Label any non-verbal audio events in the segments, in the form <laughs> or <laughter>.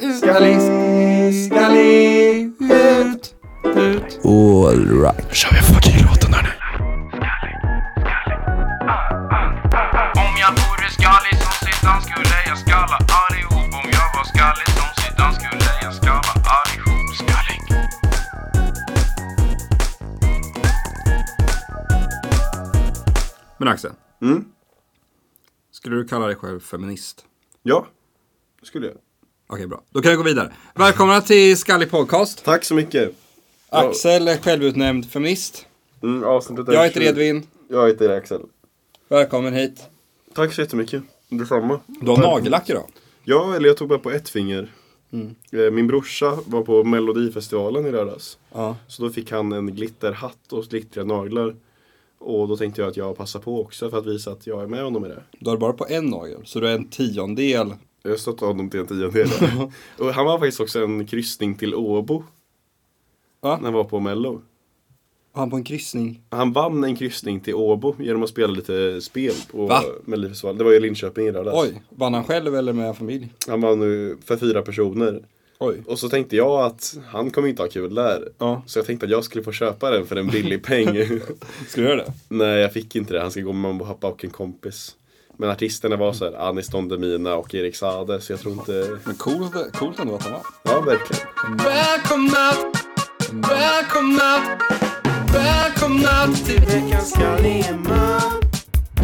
Skallig, skallig, ut, ut. All right. Nu kör vi fucking låten hörni. Om jag vore skallig som Zidane skulle jag skalla allihop Om jag var skallig som Zidane skulle jag skalla allihop Skallig Men Axel. Mm. Skulle du kalla dig själv feminist? Ja, det skulle jag. Okej, bra. Då kan jag gå vidare. Välkomna till Skallig Podcast. Tack så mycket. Axel är självutnämnd feminist. Mm, avsnittet är Jag heter 20. Edvin. Jag heter Axel. Välkommen hit. Tack så jättemycket. Detsamma. Du har nagellack idag. Ja, eller jag tog bara på ett finger. Eh, Min brorsa var på Melodifestivalen i lördags. Ja. Så då fick han en glitterhatt och glittriga naglar. Och då tänkte jag att jag passar på också för att visa att jag är med honom i det. Du har bara på en nagel, så du är en tiondel. Jag stötte honom till en tiondel. <laughs> och han var faktiskt också en kryssning till Åbo. Va? När han var på Mello. Har han på en kryssning? Han vann en kryssning till Åbo genom att spela lite spel på Va? Melodifestivalen. Det var ju Linköping i lördags. Oj, vann han själv eller med familj? Han vann nu för fyra personer. Oj. Och så tänkte jag att han kommer inte ha kul där. Ja. Så jag tänkte att jag skulle få köpa den för en billig peng. <laughs> Ska du göra det? Nej, jag fick inte det. Han ska gå med mamma och pappa och en kompis. Men artisterna var så här, Anis Don Demina och Erik Saade, så jag tror inte... Men coolt, coolt ändå att han vann. Ja, verkligen. Välkomna! Välkomna! Välkomna till veckans skallig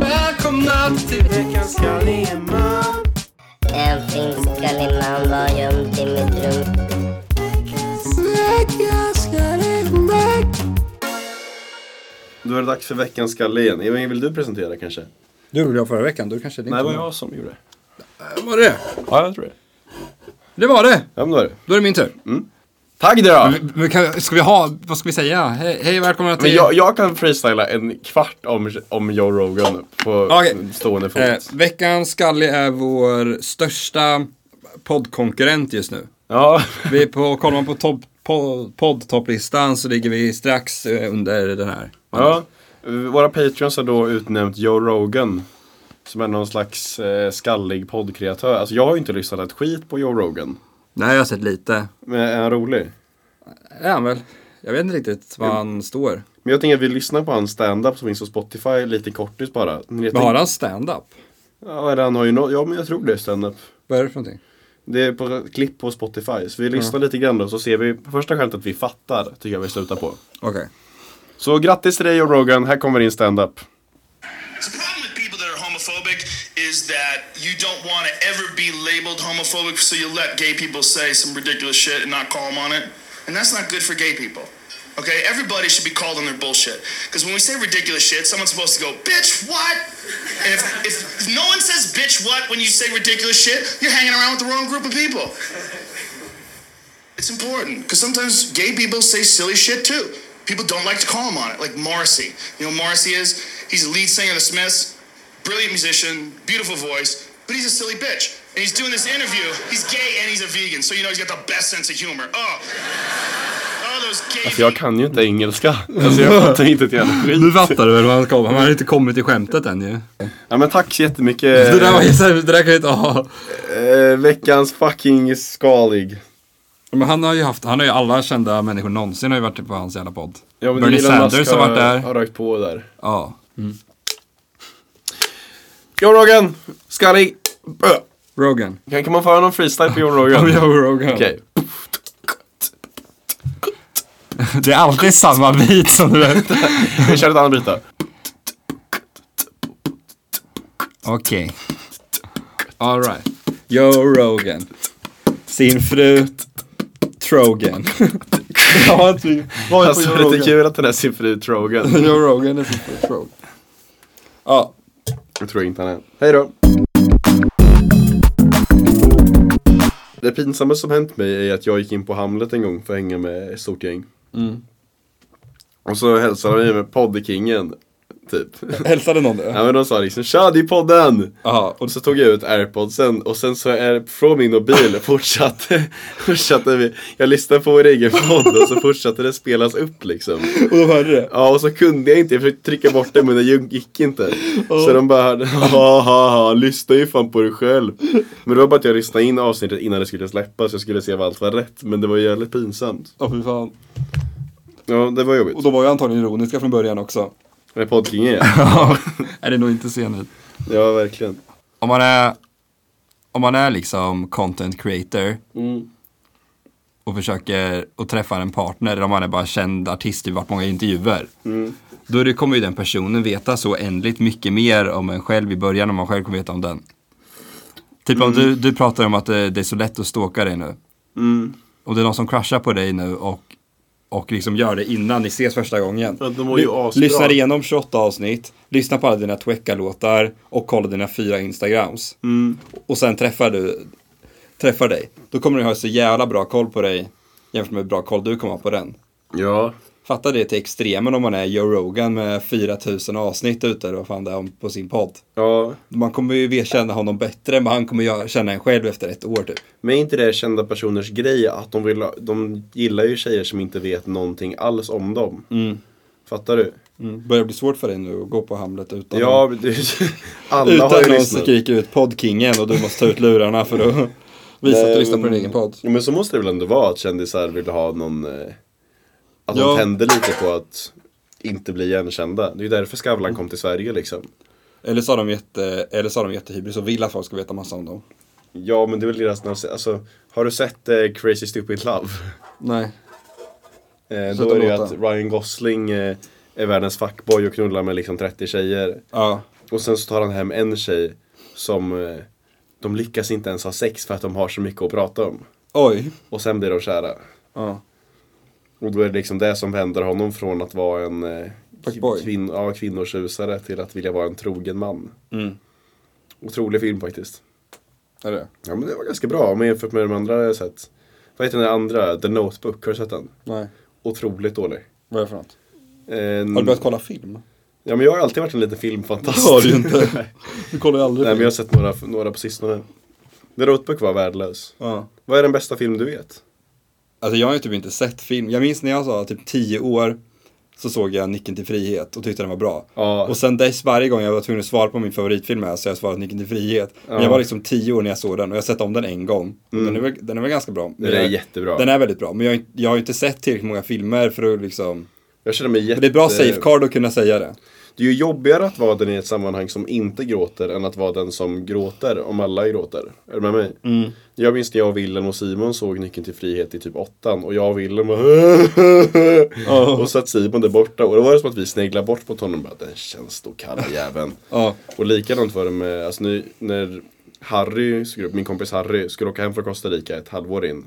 Välkomna till En finskallig man var gömd i mitt rum Då är det dags för veckans skalle igen. Evin, vill du presentera kanske? Du gjorde jag förra veckan, du kanske det inte Nej, det var jag som gjorde det. Var det Ja, jag tror det. Det var det! Ja, men då är det. Då är det min tur. Tack då! Men- Men kan, ska vi ha, vad ska vi säga? Hej, hej välkomna Mm. Men till... jag, jag kan freestyla en kvart om, om Joe Rogan på Okej. stående fot. Eh, veckans Skallig är vår största poddkonkurrent just nu. Ja, Vi är på, kollar man på topp- po- poddtopplistan så ligger vi strax eh, under den här. Ja, våra patreons har då utnämnt Joe Rogan som är någon slags eh, skallig poddkreatör. Alltså jag har ju inte lyssnat ett skit på Joe Rogan. Nej, jag har sett lite. Men är han rolig? är han väl. Jag vet inte riktigt var han står. Men jag tänker att vi lyssnar på hans stand-up som finns på Spotify lite kortis bara. Men jag Men har tänk- han stand-up? Ja, eller han har ju no- ja, men jag tror det är stand-up. Vad är det för någonting? Det är på ett klipp på Spotify. Så vi lyssnar lite grann då så ser vi på första skämtet vi fattar tycker jag vi slutar på. Okej. Så grattis till dig Joe Rogan, här kommer din stand-up. So the problem with people that are homophobic is that you don't want to ever be labeled homophobic, so you let gay people say some ridiculous shit and not call them on it. And that's not good for gay people. Okay, everybody should be called on their bullshit. Because when we say ridiculous shit, someone's supposed to go, bitch, what? And if, if no one says bitch, what when you say ridiculous shit, you're hanging around with the wrong group of people. It's important because sometimes gay people say silly shit too. People don't like to call him on it, like Morrissey. You know, who Morrissey is he's the lead singer of the Smiths, brilliant musician, beautiful voice, but he's a silly bitch. And he's doing this interview. He's gay and he's a vegan, so you know he's got the best sense of humor. Oh, oh, those gay. Alltså jag kan ju inte engelska. Alltså jag fattar inte ett jävla skit. Du fattar väl vad han kommer? Han har inte kommit till skämtet än ju. Ja men tack så jättemycket. Det där, var, ju så här- det där kan jag inte ha. Eh, veckans fucking skalig. Men han har ju haft, han har ju alla kända människor någonsin har ju varit på hans jävla podd. Ja, men Bernie Elon Musk Sanders har varit där. Har rökt på där. Ja. Joe Rogan, skallig. Bö. Rogan. Kan, kan man få höra någon freestyle på Joe Rogan? Joe Rogan. Okej. Det är alltid samma bit som du vet. Vi kör ett annat byte. Okej. Alright. Joe Rogan. Sin fru Trogan. Jag har inte... Vad Alltså det är lite kul att den här sin fru Trogan. Joe Rogan är sin fru Trogan. Ja. Jag tror inte han är. Hej då. Det pinsamma som hänt mig är att jag gick in på Hamlet en gång för att hänga med ett stort gäng. Och så hälsade vi med Poddekingen. typ. <laughs> Hälsade någon det? Ja men de sa liksom tja det är podden! Ja, och Och så tog jag ut airpodsen och sen så är från min mobil fortsatte, <laughs> fortsatte vi, jag lyssnade på vår egen podd och så fortsatte det spelas upp liksom. och de hörde det. Ja och så kunde jag inte, jag försökte trycka bort det men det gick inte. Så de bara hörde, ha ha ha, lyssna ju fan på dig själv. Men det var bara att jag lyssnade in avsnittet innan det skulle släppas, jag skulle se vad allt var rätt. Men det var jävligt pinsamt. Ja, fy fan. Ja det var jobbigt. Och de var ju antagligen ironiska från början också. Det är poddkingen ja. Ja, <laughs> är det nog inte senigt. Ja verkligen. Om man är, om man är liksom content creator och försöker och träffar en partner, eller om man är bara känd artist i vart många intervjuer. Då är det, kommer ju den personen veta så ändligt mycket mer om en själv i början om man själv kommer veta om den. Typ om du, du pratar om att eh, det, det är så lätt att stalka dig nu. Mm. Om det är någon som kraschar på dig nu och, och liksom gör det innan ni ses första gången. Ja, de var ju Ly- asbra. lyssnar igenom 28 avsnitt, lyssnar på alla dina Twecka-låtar och kollar dina fyra Instagrams. Mm. Och sen träffar du träffar dig. Då kommer du ha så jävla bra koll på dig jämfört med hur bra koll du kommer ha på den. Ja. Fatta det till extremen om man är Joe Rogan med 4000 avsnitt ute eller vad fan det är om- på sin podd. Ja. Man kommer ju känna honom bättre, men han kommer ju känna en själv efter ett år typ. Men är inte det kända personers grej att de, vill, ha- de gillar ju tjejer som inte vet någonting alls om dem? Fattar du? Mm. Börjar bli svårt för dig nu att gå på Hamlet utan Ja, men det, <laughs> alla har ju Utan någon som lyssnat. skriker ut poddkingen och du måste ta ut lurarna för att <laughs> visa att du Nej, lyssnar på din men- egen podd. Ja, men så måste det väl ändå vara att kändisar vill ha någon eh, Att Ja. de tänder lite på att inte bli igenkända. Det är ju därför Skavlan kom till Sverige liksom. Eller så har de, jätte, eller så har de jättehybris och vill att folk ska veta massa om dem. Ja men det är väl deras narciss- alltså, Har du sett eh, Crazy Stupid Love? Nej. Eh, Sluta då är det ju låta. att Ryan Gosling eh, är världens fuckboy och knullar med liksom 30 tjejer. Ja. Och sen så tar han hem en tjej som eh, de lyckas inte ens ha sex för att de har så mycket att prata om. Oj. Och sen blir de kära. Ja. Och då är det liksom det som vänder honom från att vara en eh, Fuckboy. kvin- ja, kvinnosusare till att vilja vara en trogen man. Otrolig film faktiskt. Mm. Är det? Ja men det var ganska bra om man jämfört med de andra jag har sett. Vad heter den där andra? The Notebook, har du sett den? Nej. Otroligt dålig. Vad är det för något? En... Har du börjat kolla film? Ja men jag har alltid varit en liten filmfantast. inte. Du kollar ju aldrig <laughs> Nej men film. jag har sett några, några på sistone. The Notebook var värdelös. Ja. Vad är den bästa film du vet? Alltså jag har ju typ inte sett film. Jag minns när jag var typ 10 år så såg jag Nicken till frihet och tyckte den var bra. Ja. Och sen dess varje gång jag var tvungen att svara på min favoritfilm här så har jag svarat Nicken till frihet. Men Ja. jag var liksom 10 år när jag såg den och jag har sett om den en gång. Och Den, är väl, den är väl ganska bra. Men Den är jag- jättebra. Den är väldigt bra. Men jag, har inte- jag har ju inte sett tillräckligt många filmer för att liksom. Jag känner mig Men jätte... det är bra safe card att kunna säga det. Det är ju jobbigare att vara den i ett sammanhang som inte gråter än att vara den som gråter om alla gråter. Är du med mig? Jag minns när jag, Willem och Simon såg Nyckeln till frihet i typ åttan och jag och Willem bara Och satt Simon där borta och då var det som att vi sneglade bort mot honom och bara Den känns då kalla jäveln. Ja. Och likadant var det med, alltså nu, när Harry, skulle- min kompis Harry, skulle åka hem från Costa Rica ett halvår in.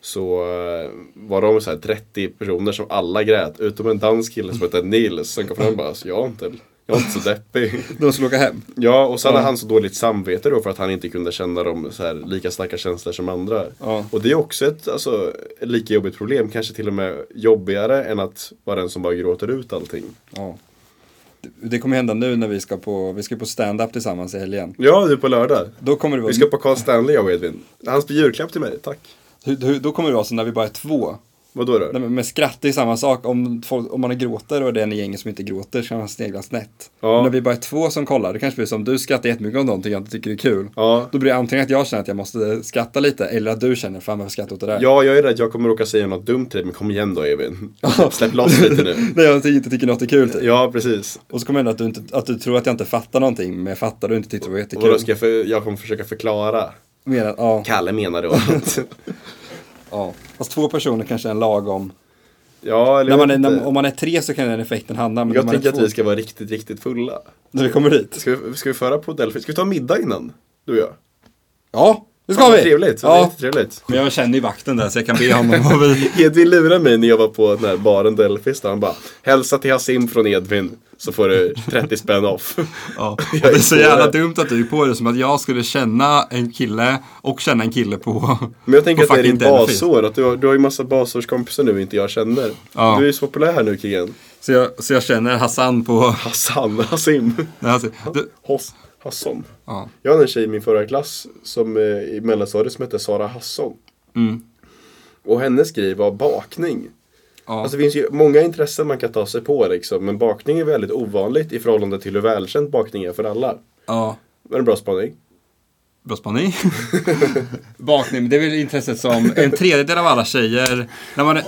Så eh, var de så här 30 personer som alla grät, utom en dansk kille som hette Nils. Som kom fram och bara, alltså, jag är inte, jag är inte så <laughs> deppig. De skulle åka hem. Ja, och sen hade han så dåligt samvete då för att han inte kunde känna de så här, lika starka känslor som andra. Ja. Och det är också ett alltså, ett lika jobbigt problem, kanske till och med jobbigare än att vara den som bara gråter ut allting. Ja. Det- Det kommer hända nu när vi ska på, vi ska på stand-up tillsammans i helgen. Ja, nu på lördag. Då kommer det vara Vi ska på Carl Stanley jag och Edvin. Hans julklapp till mig, tack. Hur, hur, då kommer det vara så när vi bara är två. Vadå då? Nej, men med skratt är samma sak. Om, folk, om man gråter och det är en i gänget som inte gråter så kan man snegla snett. Ja. Men När vi bara är två som kollar, det kanske blir som du skrattar jättemycket om någonting jag inte tycker det är kul. Ja. Då blir det antingen att jag känner att jag måste skratta lite eller att du känner fan varför skrattar jag åt det där. Ja, jag är rädd jag kommer råka säga något dumt till dig, men kom igen då Edvin. <laughs> Släpp loss lite nu. När jag inte tycker något är kul typ. Ja, precis. Och så kommer det att du, inte, att du tror att jag inte fattar någonting men jag fattar och inte tyckte det var Och då jättekul. ska jag, för, jag kommer försöka förklara. Mer än, ja, Kalle menar då <laughs> att... ja. Fast två personer kanske är en lagom. Ja, eller När jag man är, vet inte. när, om man är tre så kan den effekten hamna. Men Jag när man tänker är att två, vi ska vara riktigt, riktigt fulla. När vi kommer dit. Ska vi, ska vi föra på Delphi? Ska vi ta middag innan? Du och jag? Ja, det ska Fan, vad vi! Trevligt, det är Ja. jättetrevligt. Men jag känner ju vakten där så jag kan be honom och vi... <laughs> Edvin lurade mig när jag var på den här baren Delfis där han bara Hälsa till Hasim från Edvin så får du 30 spänn off. <laughs> Ja. Och <laughs> Jag det är är så på jävla det. dumt att du är på det som att jag skulle känna en kille och känna en kille på... Men jag tänker på att det är din fucking Delphi. basår, att du har, du har ju massa basårskompisar nu inte jag känner. Ja. Du är ju så populär här nu killen. Så jag, så jag känner Hassan på... Hassan, Hasim. Alltså, du, Hoss, Hasson. ja. Jag hade en tjej i min förra klass som eh, i mellanstadiet som hette Sara Hasson. Mm. Och hennes grej var bakning. Ja. Alltså det finns ju många intressen man kan ta sig på liksom. Men bakning är väldigt ovanligt i förhållande till hur välkänt bakning är för alla. ja. Men en bra spaning. Bra spaning. <laughs> Bakning, men det är väl intresset som en tredjedel av alla tjejer, när man är,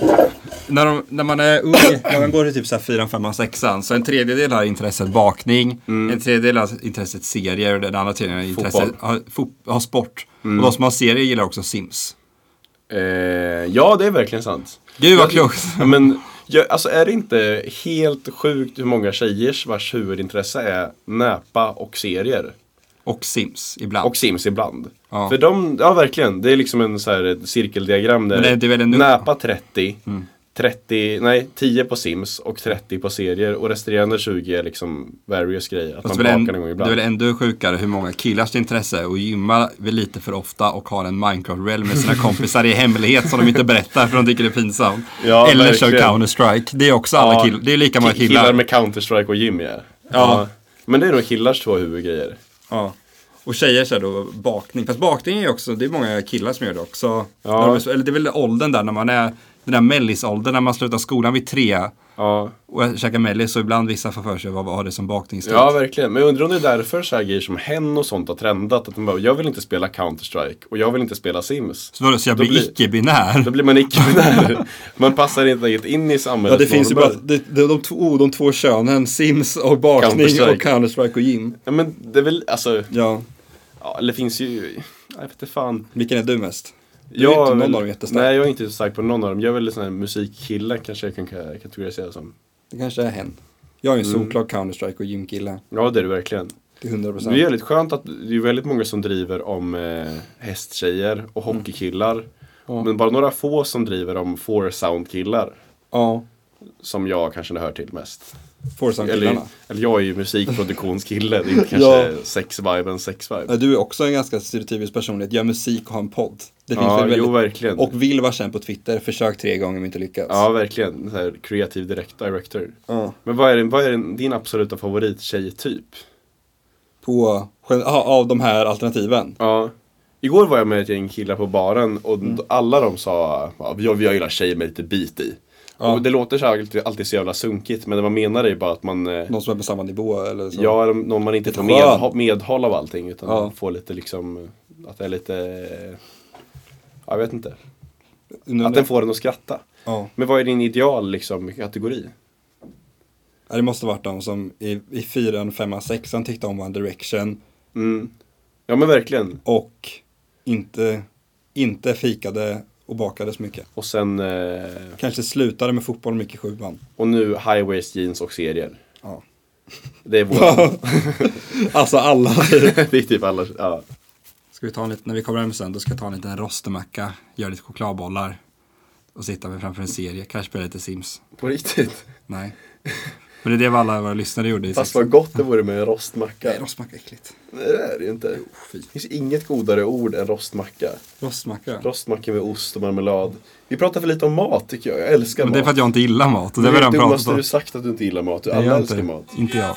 när de, när man är ung, när man går i typ så här fyran, femman, sexan, så en tredjedel har intresset bakning, en tredjedel har intresset serier och den andra tredjedelen har intresset Mm. Fotboll. Mm. har, fot, har sport. Och de som har serier gillar också Sims. <laughs> Eh, ja, det är verkligen sant. Gud vad Jag- klokt! Ja, Men jag, alltså är det inte helt sjukt hur många tjejers vars huvudintresse är näpa och serier? Och Sims ibland. Och sims ibland. Ja. För de, ja verkligen. Det är liksom en så här ett cirkeldiagram där Men det- det är Mm. väl en- näpa 30, 30, nej 10 på sims och 30 på serier och resterande 20 är liksom various grejer. Att Fast man det, är väl en, bakar någon gång det är ibland. väl ändå sjukare hur många killars intresse och gymmar väl lite för ofta och har en Minecraft-realm med sina kompisar i hemlighet som de inte berättar för de tycker det är pinsamt. <laughs> Ja, Eller kör verkligen. Counter-Strike. Det är också alla Ja, killar. Det är lika många ki- killar. med Counter-Strike och gym ja. Men det är nog killars två huvudgrejer. Ja. Och tjejer kör då bakning. Fast bakning är ju också, det är många killar som gör det också. Ja. När de är så- Eller det är väl åldern där när man är, den där mellisåldern när man slutar skolan vid tre Ja. och käkar mellis och ibland vissa får för sig vad har det som bakningstid. Ja, verkligen. Men jag undrar om det är därför så här grejer som hen och sånt har trendat. Att de bara, jag vill inte spela Counter-Strike och jag vill inte spela Sims. så, vadå, så jag Då blir, blir- icke-binär. Då blir man icke-binär. <laughs> Man passar inte riktigt in i Ja, samhällets det finns ju normer. bara de, de, de, två- oh, de två könen, Sims och bakning Counter-Strike. och Counter-Strike och gym. Ja, men det är väl, alltså, Ja, ja, eller finns ju, jag vet inte fan. vilken är du mest? Du Jag är inte är någon väl- av dem jättestark. Nej, jag är inte så stark på någon av dem. Jag är väl sån här musikkille kanske jag kan ka- kategorisera som. Det kanske är hen. Jag är en Mm. solklar Counter-Strike och gymkille. Ja, det är du verkligen. Till 100 Det är procent. väldigt skönt att det är väldigt många som driver om eh, hästtjejer och Mm. hockeykillar. Men bara några få som driver om four sound killar. Ja, som jag kanske hör till mest. Eller, Forsan-killarna. eller jag är ju musikproduktionskille, <laughs> det är inte kanske Ja. sex-viben, sex-vibe. Ja, Du är också en ganska stereotypisk personlighet, gör musik och har en podd. Det finns Ja, väl väldigt... jo, verkligen. Och vill vara känd på Twitter, försök tre gånger men inte lyckas. Ja, verkligen. Så här, kreativ direkt director. Ja. Men vad är, din- vad är din- din absoluta favorittjejtyp? På, gen- ja, av de här alternativen. Ja. Igår var jag med ett gäng killar på baren och Mm. alla de sa ja, jag, jag gillar tjejer med lite bit i. Och det låter så här, alltid, alltid så jävla sunkigt men det man menar är ju bara att man eh, Någon som är på samma nivå eller så. Ja, eller någon man inte Lite tar skön. med, medhåll av allting utan Ja. får lite liksom Att det är lite ja, Jag vet inte Nu, Att den får en att skratta ja. Men vad är din ideal liksom kategori? Ja, det måste varit de som i, i fyran, femman, sexan tyckte om One Direction Mm. Ja men verkligen och inte, inte fikade och bakade så mycket. Och sen eh, Kanske slutade med fotboll mycket i sjuan. Och nu high waist jeans och serier Ja. <laughs> Det är vår Alltså alla. <laughs> Det är typ alla ja. Ska vi ta en liten, när vi kommer hem sen, då ska jag ta en liten rostemacka, göra lite chokladbollar och sitta med framför en serie, kanske spela lite Sims. På riktigt Nej. För det är det vad alla våra lyssnare gjorde i Fast sexan. vad gott det vore med en rostmacka Nej, rostmacka är äckligt. Det är det ju inte fy. Det finns inget godare ord än rostmacka Rostmacka? Rostmacka med ost och marmelad Vi pratar för lite om mat tycker jag, jag älskar Men mat det är för att jag inte gillar mat. och Det har vi är redan det pratat dummaste du om. sagt att du inte gillar mat. Du Nej, alla jag älskar inte. mat. Inte jag.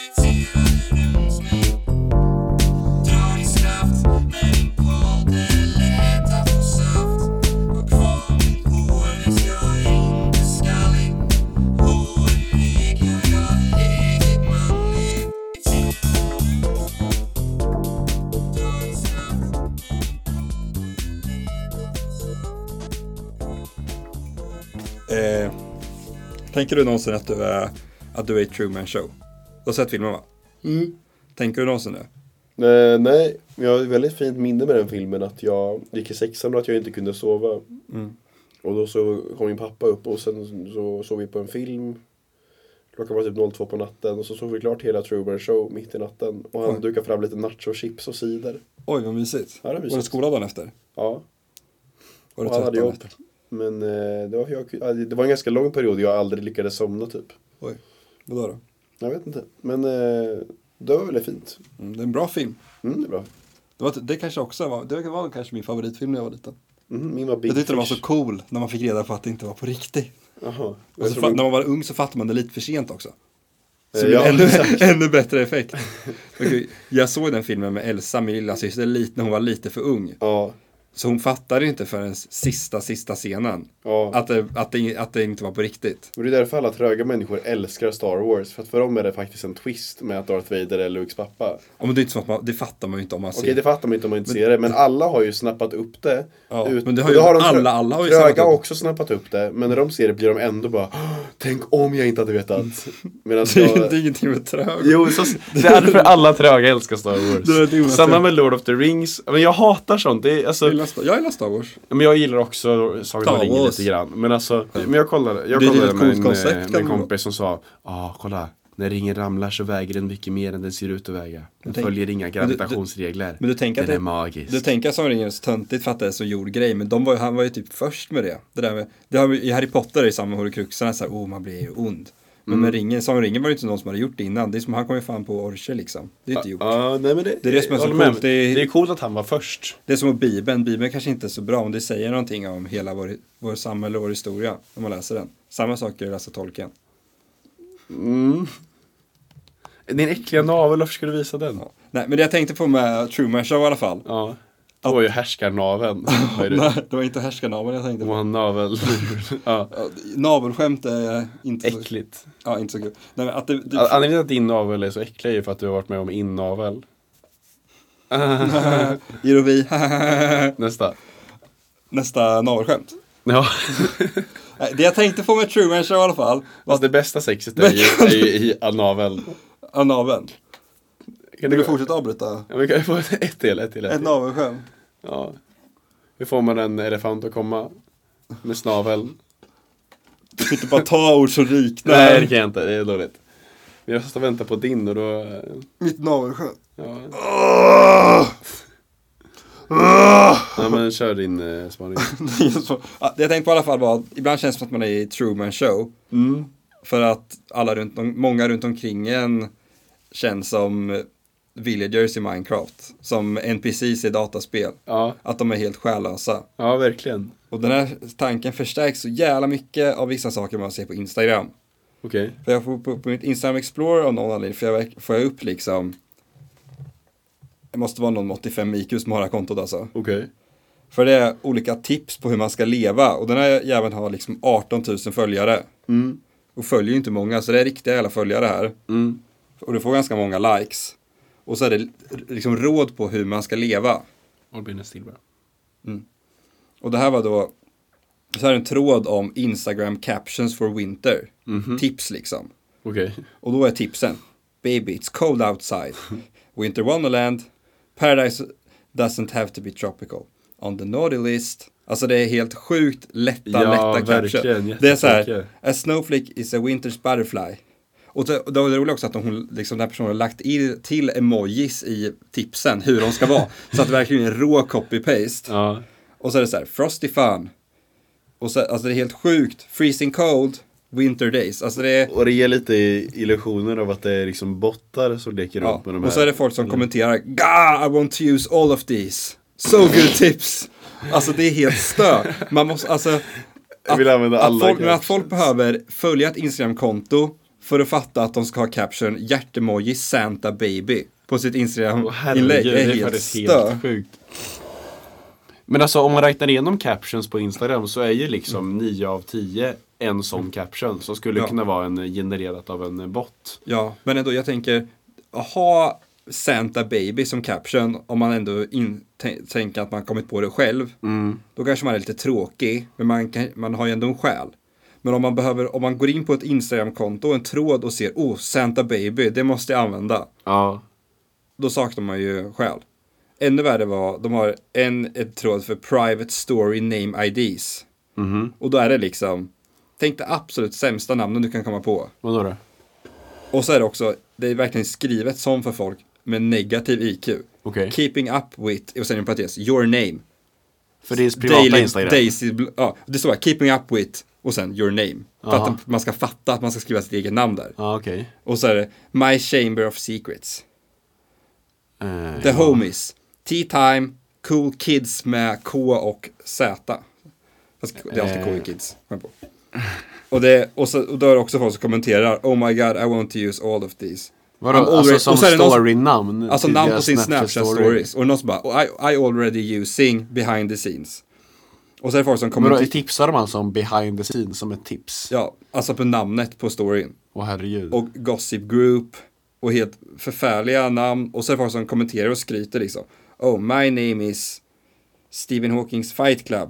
Eh, tänker du någonsin att du är, att du är i Truman Show? Du har sett filmen va? Mm. Tänker du någonsin det? Eh, nej, men jag har ett väldigt fint minne med den filmen. Att jag gick i sexan och att jag inte kunde sova. Mm. Och då så kom min pappa upp och sen så såg vi på en film. Klockan var typ 02 på natten och så såg vi klart hela Truman Show mitt i natten. Och han Oj. dukade fram lite nachochips och cider. Oj vad mysigt. Ja, det är mysigt. Var det skola dagen efter? Ja, Var det och han hade trött dagen jobb. efter? Men eh, det, var, jag, det var en ganska lång period jag aldrig lyckades somna typ. Oj, vadå då? Jag vet inte. Men eh, det var väldigt fint. Mm, det är en bra film. Mm, det är bra. Det, var, det kanske också var, det var kanske min favoritfilm när jag var liten. Mm, min var Big Jag tyckte den var Alltså, Fish. så cool när man fick reda på att det inte var på riktigt. Jaha. Och Jag så, tror fa- de- när man var ung så fattade man det lite för sent också. Så Eh, det blev ja, ännu, <laughs> exakt. ännu bättre effekt. Okej, jag såg den filmen med Elsa, min lilla syster, lite när hon var lite för ung. <laughs> Ja. Så hon fattade inte förrän sista, sista scenen Ja. att, det, att, det, att det inte var på riktigt. Och det är därför alla tröga människor älskar Star Wars. För att för dem är det faktiskt en twist med att Darth Vader är Lukes pappa. Ja, men det, är inte som att man, det fattar man ju inte om man ser. <laughs> Okej, det fattar man inte om man inte ser det. Men alla har ju snappat upp det. Ja, Ut- men det har och ju- de trö- alla- alla har ju snappat Tröga upp har det. också snappat upp det. Men när de ser det blir de ändå bara "Åh, Tänk om jag inte hade vetat. <laughs> Medan jag... Mm. det är ingenting med trög. Jo, så, det är därför alla tröga <laughs> älskar Star Det är det Wars. Jonas Samma säger. med Lord of the Rings. Men jag hatar sånt. Det är, alltså, Jag gillar Star- Jag gillar Star Wars. Ja, Men jag gillar också Sagan om Star ringen Wars. lite grann. Men alltså, men jag kollade, jag Det är ju kollade ett med, coolt en, koncept, eh, med kan en man- kompis som sa Ja, kolla. När ringen ramlar så väger den mycket mer än den ser ut att väga. Den tänk- följer inga du- gravitationsregler. Men du tänker den att är det- magisk. Du tänker att Sagan om ringen är så töntigt för att det är så gjord grej, men de var, ju- han var ju typ först med det. det, där med, det har, vi- I Harry Potter är det samma horcruxerna, så här, oh man blir ju ond. Men Mm. med ringen, Sagan om ringen var det inte någon som hade gjort det innan. Det är som, han kom ju fan på Orcher liksom. Det är inte gjort. Ja, nej men det, Det är det som är så jag håller med. coolt. Det är- det är coolt att han var först. Det är som med Bibeln, Bibeln kanske inte är så bra, men det säger någonting om hela vår, vår samhälle och vår historia när man läser den. Samma sak är att läsa Tolkien. Din äckliga navel, varför ska du visa den? Ja. Nej, men det jag tänkte på med Truman Show i alla fall. Det var ju härskarnaveln. Vad är det? Nej, <laughs> det var inte härskarnaveln jag tänkte Det på. var en navel. ja. Ja, Navelskämt är inte så, Äckligt. ja, inte så kul. Nej, men att det, det, Anledningen till att din navel är så äcklig är ju för att du har varit med om innavel. Ironi. <laughs> Nästa. Nästa navelskämt. Ja. Nej, Det jag tänkte på med Truman Show i alla fall var Fast Alltså, det bästa sexet är ju, är ju i naveln. att naveln. Kan Vill du du få? fortsätta avbryta? Ja, men kan jag få ett ett till? Ett till? Ett Ett till. navelskämt. Ja. Hur får man en elefant att komma? Med snaveln? Du får inte bara ta ord som liknar. Nej, det kan jag inte. Det är dåligt. Men jag måste vänta på din och då... eh, Mitt navelskämt. Ja. Ah! ja <laughs> men kör din eh, <laughs> spaning. Ja, det jag tänkte på i alla fall var att ibland känns det som att man är i Truman Show. För att alla runt, om- många runt omkring en känns som villagers i Minecraft. Som NPCs i dataspel. Ja, Att de är helt själlösa. ja verkligen. Och den här tanken förstärks så jävla mycket av vissa saker man ser på Instagram. Okej. För jag får på, på mitt Instagram Explorer av någon anledning, för jag, verk- får jag upp liksom det måste vara någon med 85 IQ som har det här kontot alltså. Okej. För det är olika tips på hur man ska leva och den här jäveln har liksom 18 000 följare. Och följer ju inte många, så det är riktiga jävla följare här. Och du får ganska många likes. Och så är det l- liksom råd på hur man ska leva. Albin Stilberg. Och det här var då, så här är en tråd om Instagram captions for winter. Tips liksom. Okej. Och då är tipsen. Baby, it's cold outside. Winter Wonderland. Paradise doesn't have to be tropical. On the naughty list. Alltså det är helt sjukt lätta, Ja, lätta verkligen. caption. Det är så här. Jättetråkiga. A snowflake is a winter's butterfly. Och det, och det var det roliga också att hon, liksom, den här personen har lagt i, till emojis i tipsen hur de ska <laughs> vara. så att det verkligen är rå copy-paste. Ja. Och så är det så här, Frosty Fun. Och så, alltså det är helt sjukt. Freezing cold, winter days. Alltså det är... Och det ger lite illusioner av att det är liksom bottar som leker Ja. runt med de här. Och så är det folk som kommenterar Gah, I want to use all of these. So good tips. Alltså det är helt stö. Man måste, alltså. Jag vill använda att, alla folk, men att captions. folk behöver följa ett Instagram-konto för att fatta att de ska ha caption hjärtemoji Santa baby på sitt Åh, Instagram-inlägg. herregud, Det är helt faktiskt stö. sjukt. Men alltså om man räknar igenom captions på Instagram så är ju liksom 9 av 10 en sån caption som skulle Ja. kunna vara en eh, genererat av en bot. Ja, men ändå jag tänker ha Santa baby som caption om man ändå in, tän- tänker att man kommit på det själv. Då kanske man är lite tråkig, men man, kan, man har ju ändå en själ. Men om man, behöver, om man går in på ett Instagram-konto, en tråd och ser oh, Santa baby, det måste jag använda. Ja. Då saknar man ju själ. Ännu värre var, de har en ett tråd för Private Story Name IDs. Och då är det liksom, tänk det absolut sämsta namnen du kan komma på. Vadå då? Och så är det också, det är verkligen skrivet som för folk med negativ IQ. Okej. Keeping up with, och sen en parentes, your name. För det är privata Daily- Instagram. Daisy, Bl- ja, det står här, keeping up with, och sen your name. För Aha. att man ska fatta att man ska skriva sitt eget namn där. Ja okej. Och så är det, my chamber of secrets. Eh, The homies. Tea time, cool kids med K och Z. Fast det är alltid Eh. cool kids, kom jag på. Och, det, och, så, och då är det också folk som kommenterar Oh my god, I want to use all of these. Vadå, I'm alltså som och så är det någon som- storynamn? Alltså till namn deras på sin Snapchat Snapchat stories. Och någon som bara oh, I, I already using behind the scenes. Och så är det folk som Vadå, kommenterar. tipsar de alltså om behind the scenes som ett tips? Ja, alltså på namnet på storyn. Åh herregud. och Gossip Group och helt förfärliga namn och så är det folk som kommenterar och skryter liksom. Oh, my name is Stephen Hawkings Fight Club.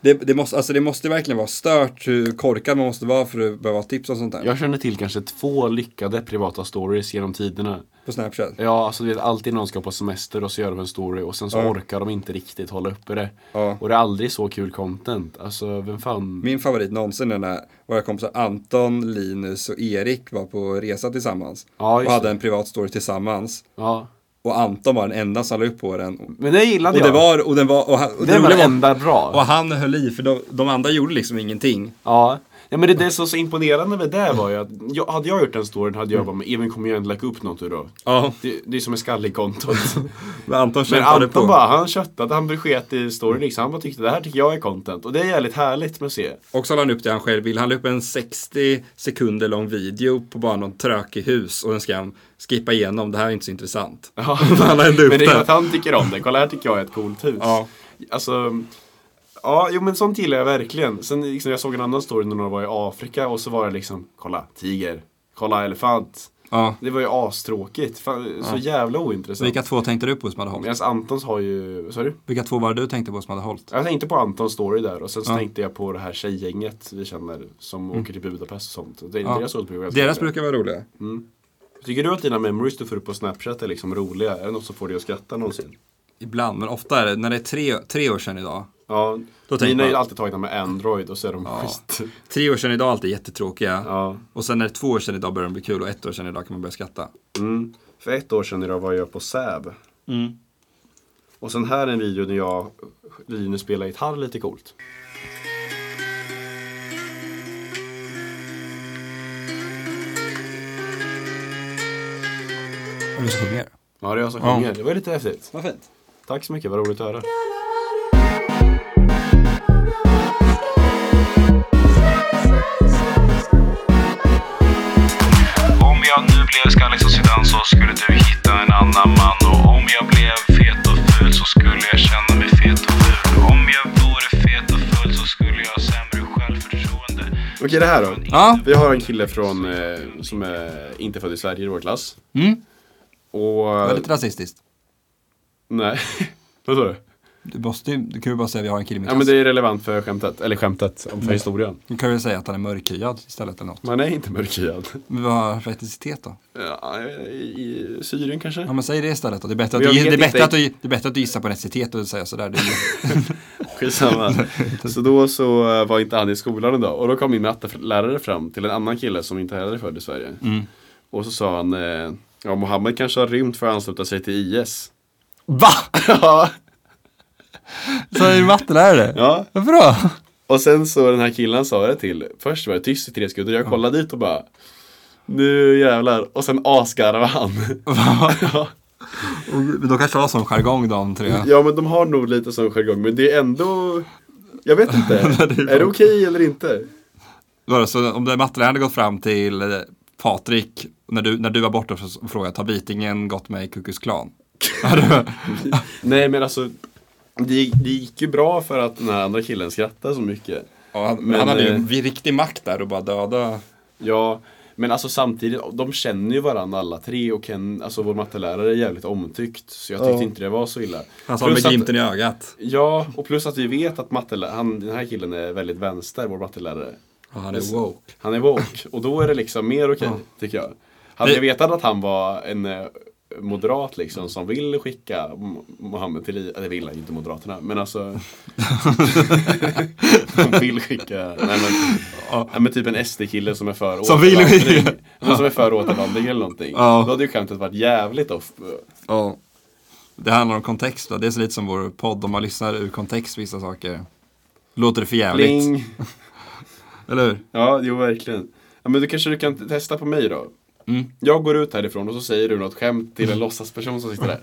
Det, det, måste, alltså det måste verkligen vara stört hur korkad man måste vara för att behöva ha tips och sånt där Jag känner till kanske två lyckade privata stories genom tiderna. på Snapchat. Ja, alltså du vet alltid någon ska på semester och så gör de en story och sen så orkar de inte riktigt hålla uppe det. Ja. Och det är aldrig så kul content. Alltså vem fan. Min favorit någonsin är när våra kompisar Anton, Linus och Erik var på resa tillsammans. Ja, just och hade det. en privat story tillsammans. Ja. Och Anton var den enda som la upp på den. Men det gillade Och det jag. var, och den var, och han, och det var roliga det enda bra. Och han höll i, för de, de andra gjorde liksom ingenting. Ja. ja, men det, det som var så imponerande med det var ju att jag, hade jag gjort den storyn hade jag bara, men Even kommer ju ändå lägga upp något ur då. Mm. Ja. Det, det är som en skallig kontot. <laughs> Men Anton Men kämpade på. Anton bara, han köttade, han sket i storyn liksom. Han bara tyckte det här tycker jag är content. Och det är jävligt härligt med att se. Och så la han upp det han själv vill. Han la upp en 60 sekunder lång video på bara någon trökig hus och den ska han skippa igenom. Det här är inte så intressant. <laughs> Ja. Han har ändå upp men det är att det. han tycker om det. Kolla här tycker jag är ett coolt hus. Ja. Alltså, ja, jo men sånt gillar jag verkligen. Sen liksom, jag såg en annan story när några var i Afrika och så var det liksom, kolla tiger, kolla elefant. Ja. Det var ju astråkigt. Fan, Så jävla ointressant. Vilka två tänkte du på som hade hållit? Medan Antons har ju, vad sa du? Vilka två var det du tänkte på som hade hållit? Jag tänkte på Antons story där och sen så tänkte jag på det här tjejgänget vi känner som åker till Budapest och sånt. Det är Mm. Ja. deras story brukar jag Deras säga. brukar vara roliga. Tycker du att dina memories du får upp på Snapchat är liksom roliga? Är det något som får dig att skratta någonsin? Ibland, men ofta är det när det är tre, tre år sedan idag. Ja, Då tänker mina är ju man- alltid tagna med Android och så är de skit. Tre år sedan idag är alltid jättetråkiga. Ja. Och sen när det är två år sedan idag börjar de bli kul och ett år sedan idag kan man börja skratta. Mm. För ett år sedan idag var jag på Säb. Mm. Och sen här är en video när jag, Linus spelar gitarr lite coolt. Och du sjunger. Ja, det är jag som sjunger. Det var ju lite häftigt. Vad fint. Tack så mycket, vad roligt att höra. Om jag nu blev skallig som Zidane så skulle du hitta en annan man Och om jag blev fet och ful så skulle jag känna mig fet och ful Om jag vore fet och ful så skulle jag ha sämre självförtroende Okej, det här då. Ja. Vi har en kille från, eh, som är inte född i Sverige i vår klass. Mm. Och... Väldigt rasistiskt. <laughs> Nej. Vad sa du? Du, måste, ju- du kan ju bara säga att vi har en kille i min Ja men klass. det är relevant för skämtet, eller skämtet, Mm. om för historien. Du kan ju säga att han är mörkhyad istället eller något. Man är inte mörkhyad. Men vad har han för etnicitet då? Ja, I Syrien kanske? Ja men säg det istället då. Det är bättre att, Men jag du, vet det är bättre inte- att, du, det är bättre att du gissar på en etnicitet och säger sådär. Det är, <laughs> Skitsamma. Så då så eh, var inte han i skolan idag och då kom min mattelärare fram till en annan kille som inte heller är född i Sverige. Mm. Och så sa han, eh, ja Mohammed kanske har rymt för att ansluta sig till <laughs> IS. Va? Ja. Så är du mattelärare? ja. Varför då? Och sen så den här killen sa det till, först var det tyst i tre sekunder, jag kollade dit och bara nu jävlar, och sen asgarvade han. <laughs> Ja. Men de kanske har sån jargong de tre. ja men de har nog lite sån jargong, men det är ändå, jag <laughs> vet inte, Det är är det okej eller inte? Vadå, Så om den matteläraren hade gått fram till eh, Patrik när du, när du var borta och frågat har Vitingen gått med i Kukus klan? <laughs> Hade du- Nej men alltså det, det gick ju bra för att den här andra killen skrattade så mycket. Ja, han, Men, han hade ju eh, en riktig makt där och bara döda. Ja, men alltså samtidigt, de känner ju varandra alla tre och Ken, alltså vår mattelärare är jävligt omtyckt. Så jag tyckte inte det var så illa. Han sa med Plus att- glimten i ögat. Ja, och plus att vi vet att mattelä- han, den här killen är väldigt vänster, vår mattelärare. Ja, han är woke. Han är woke och då är det liksom mer okej, tycker jag. Hade Det- jag vetat att han var en eh, moderat liksom som vill skicka Mo- Mohammed till IS, det vill han ju inte Moderaterna, <laughs> men alltså <laughs> De vill skicka, nej men, nej, men typ en SD-kille som är för Som vill skicka. återvandring. Men Som är för återvandring eller någonting. Ja. Då hade ju skämtet varit jävligt off. Ja. Det handlar om kontext då. Det är så lite som vår podd om man lyssnar ur kontext vissa saker. Låter det för jävligt? Bling. Eller hur? Ja, jo verkligen. Ja, men då kanske du kan t- testa på mig då. Mm. Jag går ut härifrån och så säger du något skämt till en låtsasperson som sitter där.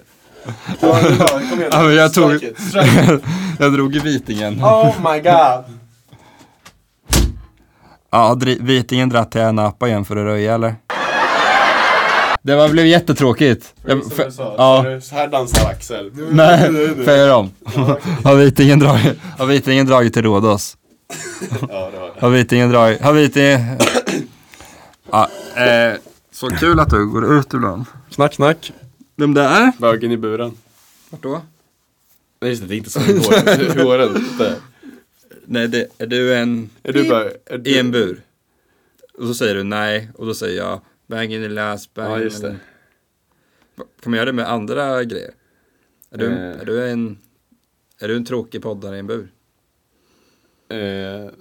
Ja, det är bra. Kom igen. Ja, men jag tog- Strike <laughs> it, strike it. Jag drog i vitingen. Oh my god. Ja, dri- Vitingen dratt till Napa igen för att röja eller? Det var, blev jättetråkigt. Jag, för, ja, Så här dansar Axel. nej, får jag göra om? <laughs> Har Vitingen dragit, har Vitingen dragit till Rhodos? <laughs> Har Vitingen dragit, har Vitingen... <coughs> Ja, eh, så kul att du går ut ibland. Snack, snack. Vem det är? Bögen i buren. Vart då? Nej just det, det är inte så det <laughs> går. Hur går det? inte? Nej, det, är du en... Är du bara... Är I en du... bur. Och så säger du nej och då säger jag bang in the last bang. Ja, just in the-" det. Va- Kan man göra det med andra grejer? Är du, Eh. är du, en, är du en tråkig poddare i en bur? Eh,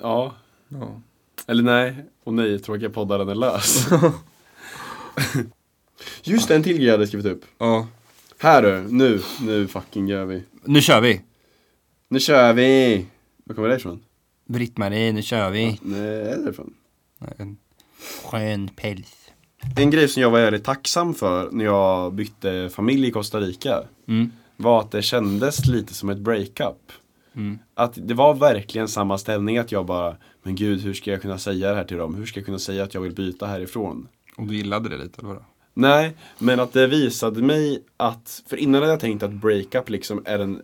ja. Ja. Eller nej. Och nej, tråkiga poddaren är lös. <laughs> Just det, en till grej jag hade skrivit upp. ja. Här du, nu, nu fucking gör vi. Nu kör vi! Nu kör vi! Var kommer det ifrån? Britt-Marie, nu kör vi! Nej, är det ifrån? Skön päls. En grej som jag var jävligt tacksam för när jag bytte familj i Costa Rica Mm. var att det kändes lite som ett breakup. Mm. Att det var verkligen samma ställning att jag bara, men gud hur ska jag kunna säga det här till dem? Hur ska jag kunna säga att jag vill byta härifrån? Och du gillade det lite, eller vadå? Nej, men att det visade mig att, för innan hade jag tänkt att breakup liksom är en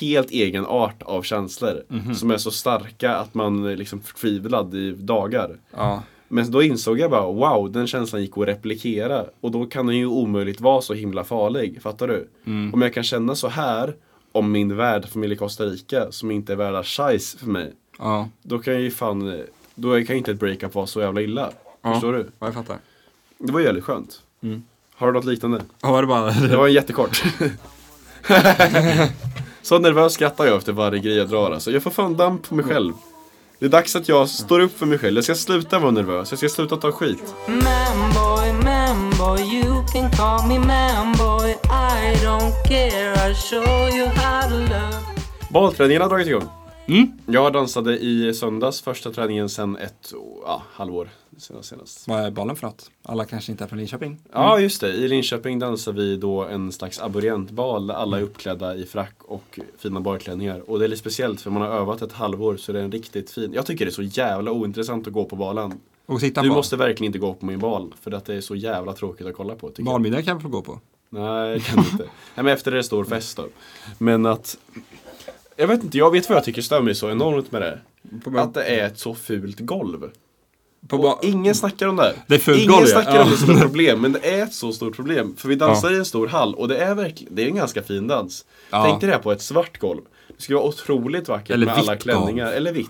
helt egen art av känslor. Mhm. Som är så starka att man är liksom förtvivlad i dagar. Ja. Men då insåg jag bara, wow, den känslan gick att replikera. Och då kan den ju omöjligt vara så himla farlig, fattar du? Om jag kan känna så här om min värdfamilj i Costa Rica, som inte är värda schajs för mig. Ja. Då kan jag ju fan, då kan ju inte ett breakup vara så jävla illa. Förstår du? Ja, jag fattar. Det var ju jävligt skönt. Har du något liknande? Ja, var det bara... Det var jättekort. så nervös skrattar jag efter varje grej jag drar alltså. Jag får fan damp på mig själv. Det är dags att jag står upp för mig själv. Jag ska sluta vara nervös. Jag ska sluta ta skit. Man boy, man boy, you can call me man boy. I don't care, I'll show you how to love. Balträningen har dragit igång. Mm. Jag dansade i söndags, första träningen sen ett ja, halvår senast. senast. Vad är bollen för något? Alla kanske inte är från Linköping? Ja, just det. I Linköping dansar vi då en slags aborientbal där alla är uppklädda i frack och fina balklänningar. Och det är lite speciellt för man har övat ett halvår så det är en riktigt fin. Jag tycker det är så jävla ointressant att gå på balen. Och sitta Du på? måste verkligen inte gå på min bal för att det är så jävla tråkigt att kolla på tycker jag. Barnmiddag kan jag få gå på? Nej, jag kan inte. Nej, men efter det är det stor fest då. Men att jag vet inte, jag vet vad jag tycker stör mig så enormt med det. På- Att det är ett så fult golv. På Och ba- ingen snackar om det här. Det är fult Ingen golv, ja. snackar om Ja. det som ett problem, men det är ett så stort problem. För vi dansar i en stor hall och det är verkligen, det är en ganska fin dans. Ja. Tänk dig det här på ett svart golv. Det skulle vara otroligt vackert Eller med vitt alla klänningar, eller vitt.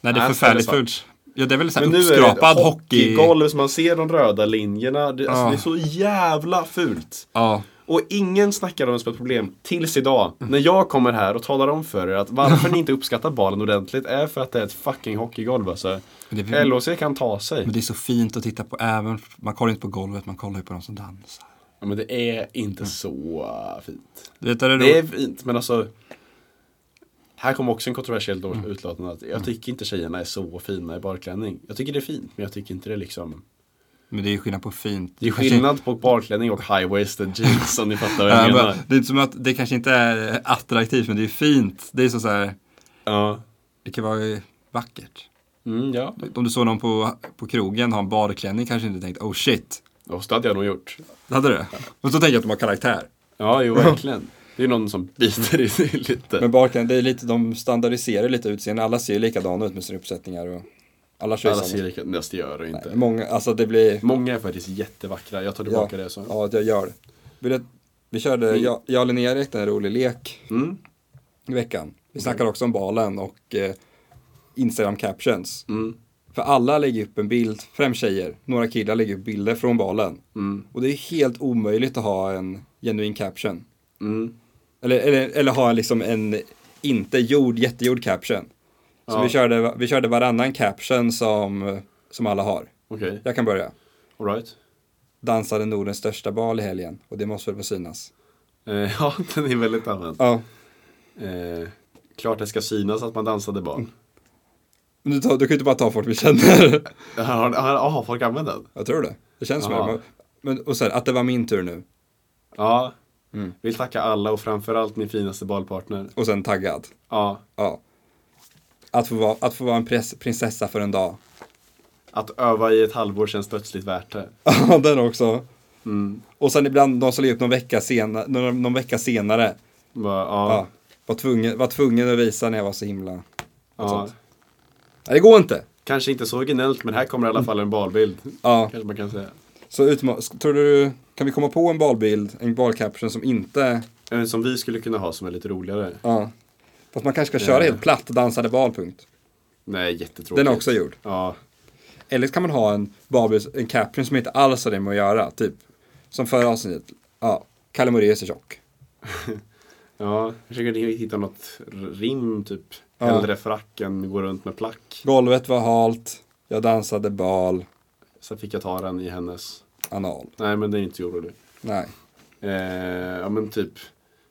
Nej, det är Nej, förfärligt ställe fult. Ja, det är väl så här Men nu är uppskrapad det hockey... hockeygolv så man ser de röda linjerna. Det, alltså, Ja. det är så jävla fult. Ja. Och ingen snackar om det som ett problem tills idag. När jag kommer här och talar om för er att varför ni inte uppskattar balen ordentligt är för att det är ett fucking hockeygolv alltså. Men det är- LHC kan ta sig. Men det är så fint att titta på även, man kollar inte på golvet, man kollar ju på de som dansar. Ja, men det är Mm. inte så äh, fint. Du vet, är det, Det är roligt? fint, men alltså. Här kommer också en kontroversiell mm. utlåtande. Att jag tycker inte tjejerna är så fina i barklänning. Jag tycker det är fint, men jag tycker inte det är liksom. Men det är ju skillnad på fint. Det är kanske- skillnad på barklänning och high-waisted jeans om ni fattar vad Ja, jag men menar. det är inte som att det kanske inte är attraktivt, men det är fint. Det är så, så här, Ja. det kan vara vackert. Mm, ja. Om du såg någon på, på krogen ha en badklänning kanske inte tänkt oh shit. Och det hade jag nog gjort. Det hade du? Men så tänker jag att de har karaktär. Ja, jo verkligen. Det är någon som biter i sig lite. badklänning, det är lite, de standardiserar lite utseende. Alla ser ju likadana ut med sina uppsättningar och alla kör Alla ser lika, nästan gör det inte. Många, alltså det blir Många är faktiskt jättevackra, jag tar tillbaka det. Så. Ja, att jag gör det. Vill du- Vi körde, jag, jag och Linnea räknade en rolig lek Mm. i veckan. Vi snackade också om balen och eh, Instagram captions. Mm. För alla lägger upp en bild, främst tjejer, några killar lägger upp bilder från balen. Mm. Och det är helt omöjligt att ha en genuin caption. Mm. Eller, eller, eller ha liksom en inte gjord, jättegjord caption. Så Ja. vi, körde, vi körde varannan caption som, som alla har. Okej, Jag kan börja. alright. Dansade Nordens största bal i helgen och det måste väl få synas. Eh, <laughs> ja, den är väldigt använd. Ja. Mm. Eh, klart det ska synas att man dansade barn. <laughs> Men Du, tar, du kan ju inte bara ta folk vi känner. Har, har, har folk använt den? Jag tror det. Det känns som Ja. det. Men, och sen att det var min tur nu. Ja. Mm. Vill tacka alla och framförallt min finaste balpartner. Och sen taggad. Ja, Ja. Att få vara, att få vara en press, prinsessa för en dag. <laughs> Att öva i ett halvår känns plötsligt värt det. Ja, den också. Och sen ibland de som lägger upp någon vecka, sena, någon, någon vecka senare. Bara, Ja, ja, var, tvungen, var tvungen att visa när jag var så himla... något ja. sånt. Nej, det går inte. Kanske inte så originellt men här kommer i alla fall en balbild. Mm. Ja, Kanske man kan säga. så utma- tror du, kan vi komma på en balbild, en balcaption som inte... En som vi skulle kunna ha som är lite roligare. Ja. Fast man kanske ska köra helt platt, dansade bal, punkt. Nej, jättetråkigt. Den är också gjord. Ja, Eller så kan man ha en balbild, en caption som inte alls har det med att göra, typ. Som förra avsnittet, ja, Kalle Moraeus är tjock. ja. Jag försöker hitta något rim typ. Ja. Hellre frack än gå runt med plack. Golvet var halt, jag dansade bal, Sen fick jag ta den i hennes. anal. Nej, men det är inte så roligt. Nej. Eh, ja men typ.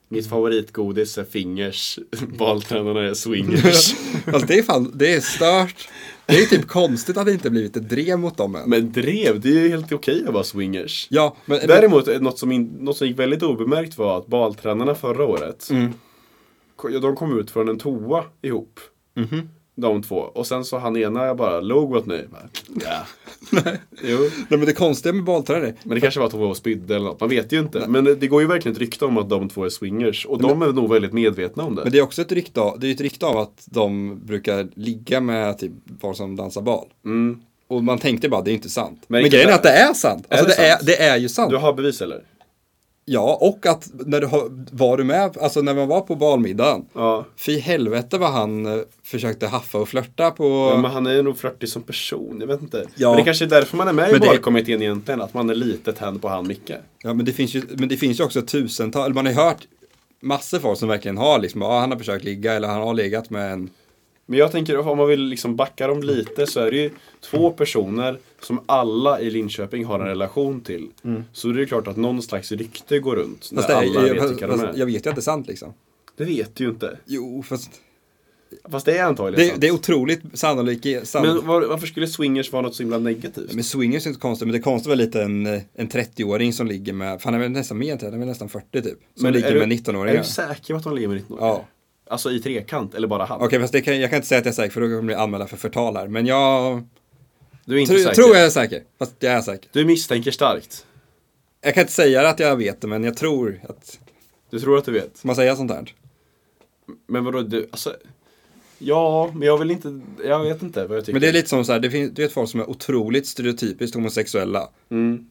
Mitt favoritgodis är fingers. <laughs> Baltränarna är swingers. Fast det är fan, det är stört. Det är typ konstigt att det inte blivit ett drev mot dem än. men drev, det är ju helt okej att vara swingers. Ja, men... Däremot eh, något som, in, något som gick väldigt obemärkt var att baltränarna förra året. Mm. ko- ja, De kom ut från en toa ihop. Mhm. De två. Och sen så han ena bara låg åt mig. Bara, Ja. jo. <laughs> Nej, men det konstiga med baltränare, Men det kanske var att hon var och spydde eller något. Man vet ju inte. Men det det går ju verkligen ett rykte om att de två är swingers. Och de är nog väldigt medvetna om det. men det är också ett rykte av, det är ju ett rykte av att de brukar ligga med typ folk som dansar bal. Mm. Och man tänkte bara, det är inte sant. Men, inte grejen är det. att det är sant. Alltså det det, sant? Är, det är ju sant. Du har bevis eller? Ja, och att när du har, var du med, alltså när man var på balmiddagen. Ja. Fy helvete vad han eh, försökte haffa och flörta på. Ja, men han är nog flörtig som person, jag vet inte. Ja. Men det kanske är därför man är med Men i det- valkommittén egentligen, att man är lite tänd på han Micke. Ja, men det finns ju, men det finns ju också tusentals, eller man har ju hört massor folk som verkligen har liksom, ja han har försökt ligga eller han har legat med en, Men jag tänker, om man vill liksom backa dem lite så är det ju två personer som alla i Linköping har en relation till. Så det är ju klart att någon slags rykte går runt när Mm. fast det, är- alla vet fast, vilka de är. fast, jag vet ju att det är sant liksom. Det vet du ju inte. Jo, fast Fast det är antagligen det, sant. det är otroligt sannolikt. Sann... Men, Men var, varför skulle swingers vara något så himla negativt? swingers är inte konstigt, men det är konstigt väl lite en, en 30-åring som ligger med, för han är väl nästan mer än 30, han är väl nästan 40 typ. Som Men är ligger du- med Är du 19-åringar. säker på att de ligger med 19-åringar? Ja. Alltså i trekant, eller bara han? Okej, fast det kan, jag kan inte säga att jag är säker för då kommer jag bli anmälda för förtal här. Men jag Du är inte tro, säker? tror jag är säker. Fast jag är säker. Du misstänker starkt? Jag kan inte säga att jag vet det, men jag tror att... Du tror att du vet? Ska man säga sånt här? Men vadå, du, alltså Ja, men jag vill inte, jag vet inte vad jag tycker. Men det är lite som så här, det finns, du vet folk som är otroligt stereotypiskt homosexuella. Mm.